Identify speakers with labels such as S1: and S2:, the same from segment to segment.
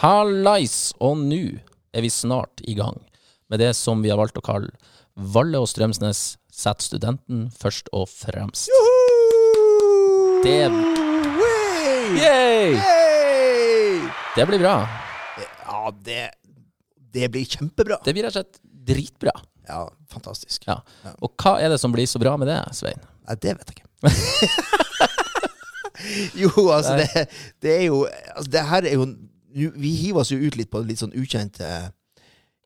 S1: Hallais! Og nå er vi snart i gang med det som vi har valgt å kalle Valle og Strømsnes setter studenten først og fremst. Det-
S2: Way!
S1: Yay!
S2: Hey!
S1: Det blir bra.
S2: Ja, det, det blir kjempebra.
S1: Det blir rett og slett dritbra.
S2: Ja, fantastisk.
S1: Ja. Og hva er det som blir så bra med det, Svein?
S2: Nei, det vet jeg ikke. jo, altså, det, det er jo altså, Det her er jo nu- Vi hiver oss jo ut litt på litt sånn ukjent eh,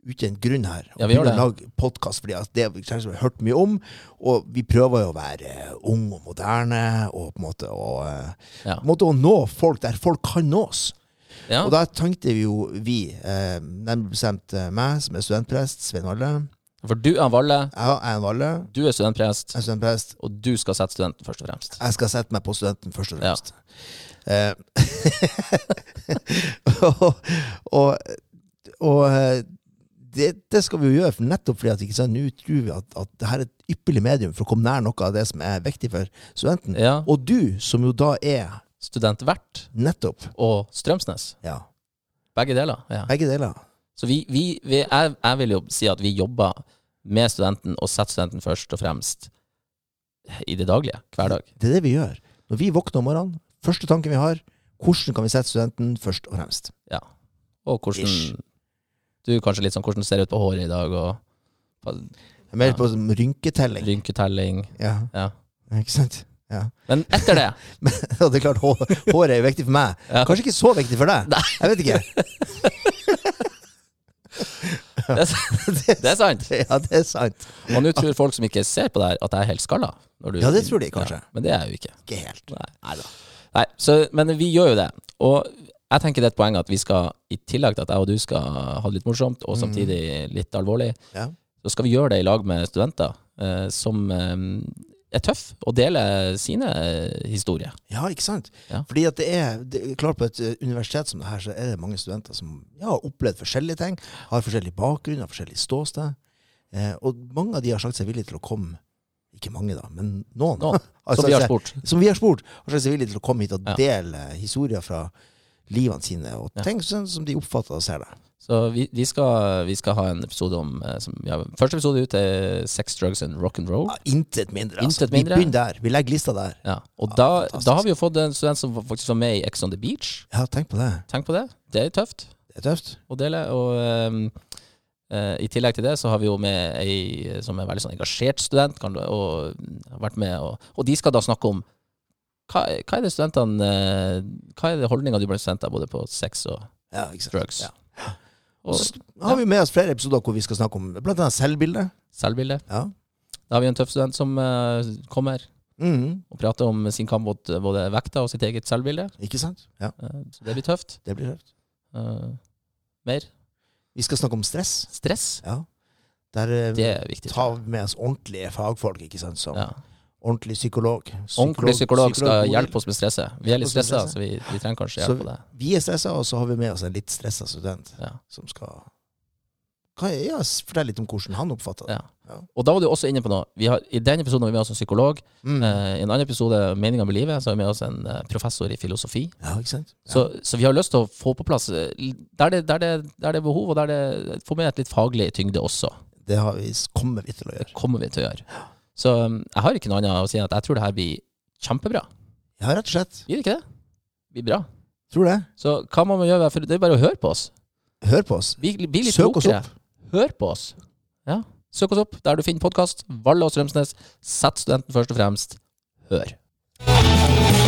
S2: Ukjent grunn her.
S1: Ja, vi gjør det.
S2: Lage podkast, fordi altså, det er kanskje vi har hørt mye om. Og vi prøver jo å være eh, ung og moderne, og på en måte å, eh,
S1: Ja.
S2: på en måte å nå folk der folk kan nås.
S1: Ja.
S2: Og da tenkte vi jo vi, eh, nærmere bestemt eh, meg, som er studentprest, Svein Valle.
S1: For du er Valle,
S2: Jeg er en Valle,
S1: du er studentprest,
S2: jeg er studentprest.
S1: og du skal sette studenten først og fremst.
S2: Jeg skal sette meg på studenten først og
S1: Ja.
S2: fremst. Eh, og og, og eh, det, det skal vi jo gjøre, for nettopp fordi at ikke sant, nå tror vi at, at det her er et ypperlig medium for å komme nær noe av det som er viktig for studenten.
S1: Ja.
S2: Og du, som jo da er
S1: Studentvert
S2: nettopp
S1: og Strømsnes.
S2: ja,
S1: Begge deler. Ja.
S2: begge deler.
S1: Så vi, vi, vi jeg, jeg vil jo si at vi jobber med studenten og setter studenten først og fremst i det daglige. Hver dag.
S2: Det er det vi gjør. Når vi våkner om morgenen, første tanken vi har, hvordan kan vi sette studenten først og fremst?
S1: Ja. Og hvordan
S2: Ish.
S1: Du kanskje litt sånn hvordan ser det ut på håret i dag, og på
S2: Jeg er Mer
S1: Ja.
S2: på som rynketelling.
S1: rynketelling.
S2: Ja,
S1: Ja.
S2: ikke sant? Ja.
S1: Men etter det
S2: Men det er klart, hår, håret er jo viktig for meg.
S1: Ja.
S2: Kanskje ikke så viktig for deg.
S1: Nei.
S2: Jeg vet ikke.
S1: Det er sant. Det er sant.
S2: Ja, det er sant.
S1: Og nå tror folk som ikke ser på det her, at jeg er helt skalla. når du-
S2: Ja, det tror de kanskje.
S1: men det er jeg jo ikke.
S2: Ikke helt.
S1: Nei. Nei, så, men vi gjør jo det. Og jeg tenker det er et poeng at vi skal, i tillegg til at jeg og du skal ha det litt morsomt,
S2: Mm.
S1: og samtidig litt alvorlig,
S2: Ja.
S1: så skal vi gjøre det i lag med studenter eh, som eh, er tøff og deler sine eh, historier.
S2: Ja, ikke sant?
S1: Ja.
S2: Fordi at det er, det er klart på et eh, universitet som det her, så er det mange studenter som ja, har opplevd forskjellige ting, har forskjellig bakgrunn, har forskjellig ståsted. Eh, og mange av de har sagt seg villige til å komme, ikke mange da, men noen,
S1: Noen, som
S2: Altså, har sagt
S1: vi har
S2: seg-
S1: spurt.
S2: som vi har spurt, har sagt seg villige til å komme hit og
S1: Ja.
S2: dele historier fra livene sine, og ting sånn som de oppfatter og ser det.
S1: Så vi, vi, skal, vi skal ha en episode om eh, som, ja, Første episode ut er sex, drugs and rock and roll.
S2: Ja, intet mindre, altså.
S1: Oh. Intet mindre.
S2: Vi begynner der. Vi legger lista der.
S1: Ja. Og
S2: Ja,
S1: da,
S2: fantastisk.
S1: da har vi jo fått en student som faktisk var med i Ex on the Beach.
S2: Ja, tenk på det.
S1: Tenk på det. Det er tøft.
S2: Det er tøft.
S1: å dele. Og ehm, eh, i tillegg til det så har vi jo med ei som er veldig sånn engasjert student, kan, du- og mm, har vært med, og, og de skal da snakke om hva, hva er det studentene eh, Hva er det holdninga du blant studenter både på sex og
S2: Ja, ikke sant.
S1: drugs?
S2: Ja. Og
S1: Og
S2: så har vi med oss flere episoder hvor vi skal snakke om blant annet selvbilde.
S1: selvbilde.
S2: Ja.
S1: Da har vi en tøff student som eh, kommer
S2: Mhm.
S1: og prater om sin kamp mot eh, både vekta og sitt eget selvbilde.
S2: Ikke sant? Ja,
S1: Eh, så det blir tøft.
S2: det blir tøft.
S1: Eh, mer
S2: Vi skal snakke om stress.
S1: stress.
S2: Ja. Der eh,
S1: Det er viktig.
S2: tar vi med oss ordentlige fagfolk, ikke sant? Som
S1: Ja.
S2: ordentlig psykolog.
S1: Ordentlig psykolog skal
S2: psykolog-
S1: hjelpe oss med stresset. Vi er litt
S2: Hjelpe oss med
S1: stressa,
S2: stresset.
S1: så vi, vi trenger kanskje
S2: Så-
S1: hjelp på det.
S2: Vi er stressa, og så har vi med oss en litt stressa student
S1: Ja.
S2: som skal kan jeg, ja, s- Fortell litt om hvordan han oppfatter det.
S1: Ja. Og da var du også inne på noe. Vi har, I den episoden har vi med oss en psykolog.
S2: Mm.
S1: Eh, I en annen episode, 'Meninga med livet', så har vi med oss en eh, professor i filosofi.
S2: Ja, ikke sant?
S1: Så, så vi har lyst til å få på plass eh, Der det, der det, der det er behov, og der det får med et litt faglig tyngde også.
S2: Det har vi, kommer vi til å gjøre.
S1: Det kommer vi til å gjøre. Så um, jeg har ikke noe annet å si enn at jeg tror det her blir kjempebra.
S2: Ja, rett og slett.
S1: Gjør det ikke det? Det blir bra.
S2: Tror det.
S1: Så hva man må gjøre, for det er bare å høre på oss.
S2: Hør på oss.
S1: Bli, bli litt
S2: Søk oss
S1: klokere.
S2: opp.
S1: Hør på oss. Ja. Søk oss opp der du finner podkast. Valle og Strømsnes. Sett studenten først og fremst. Hør.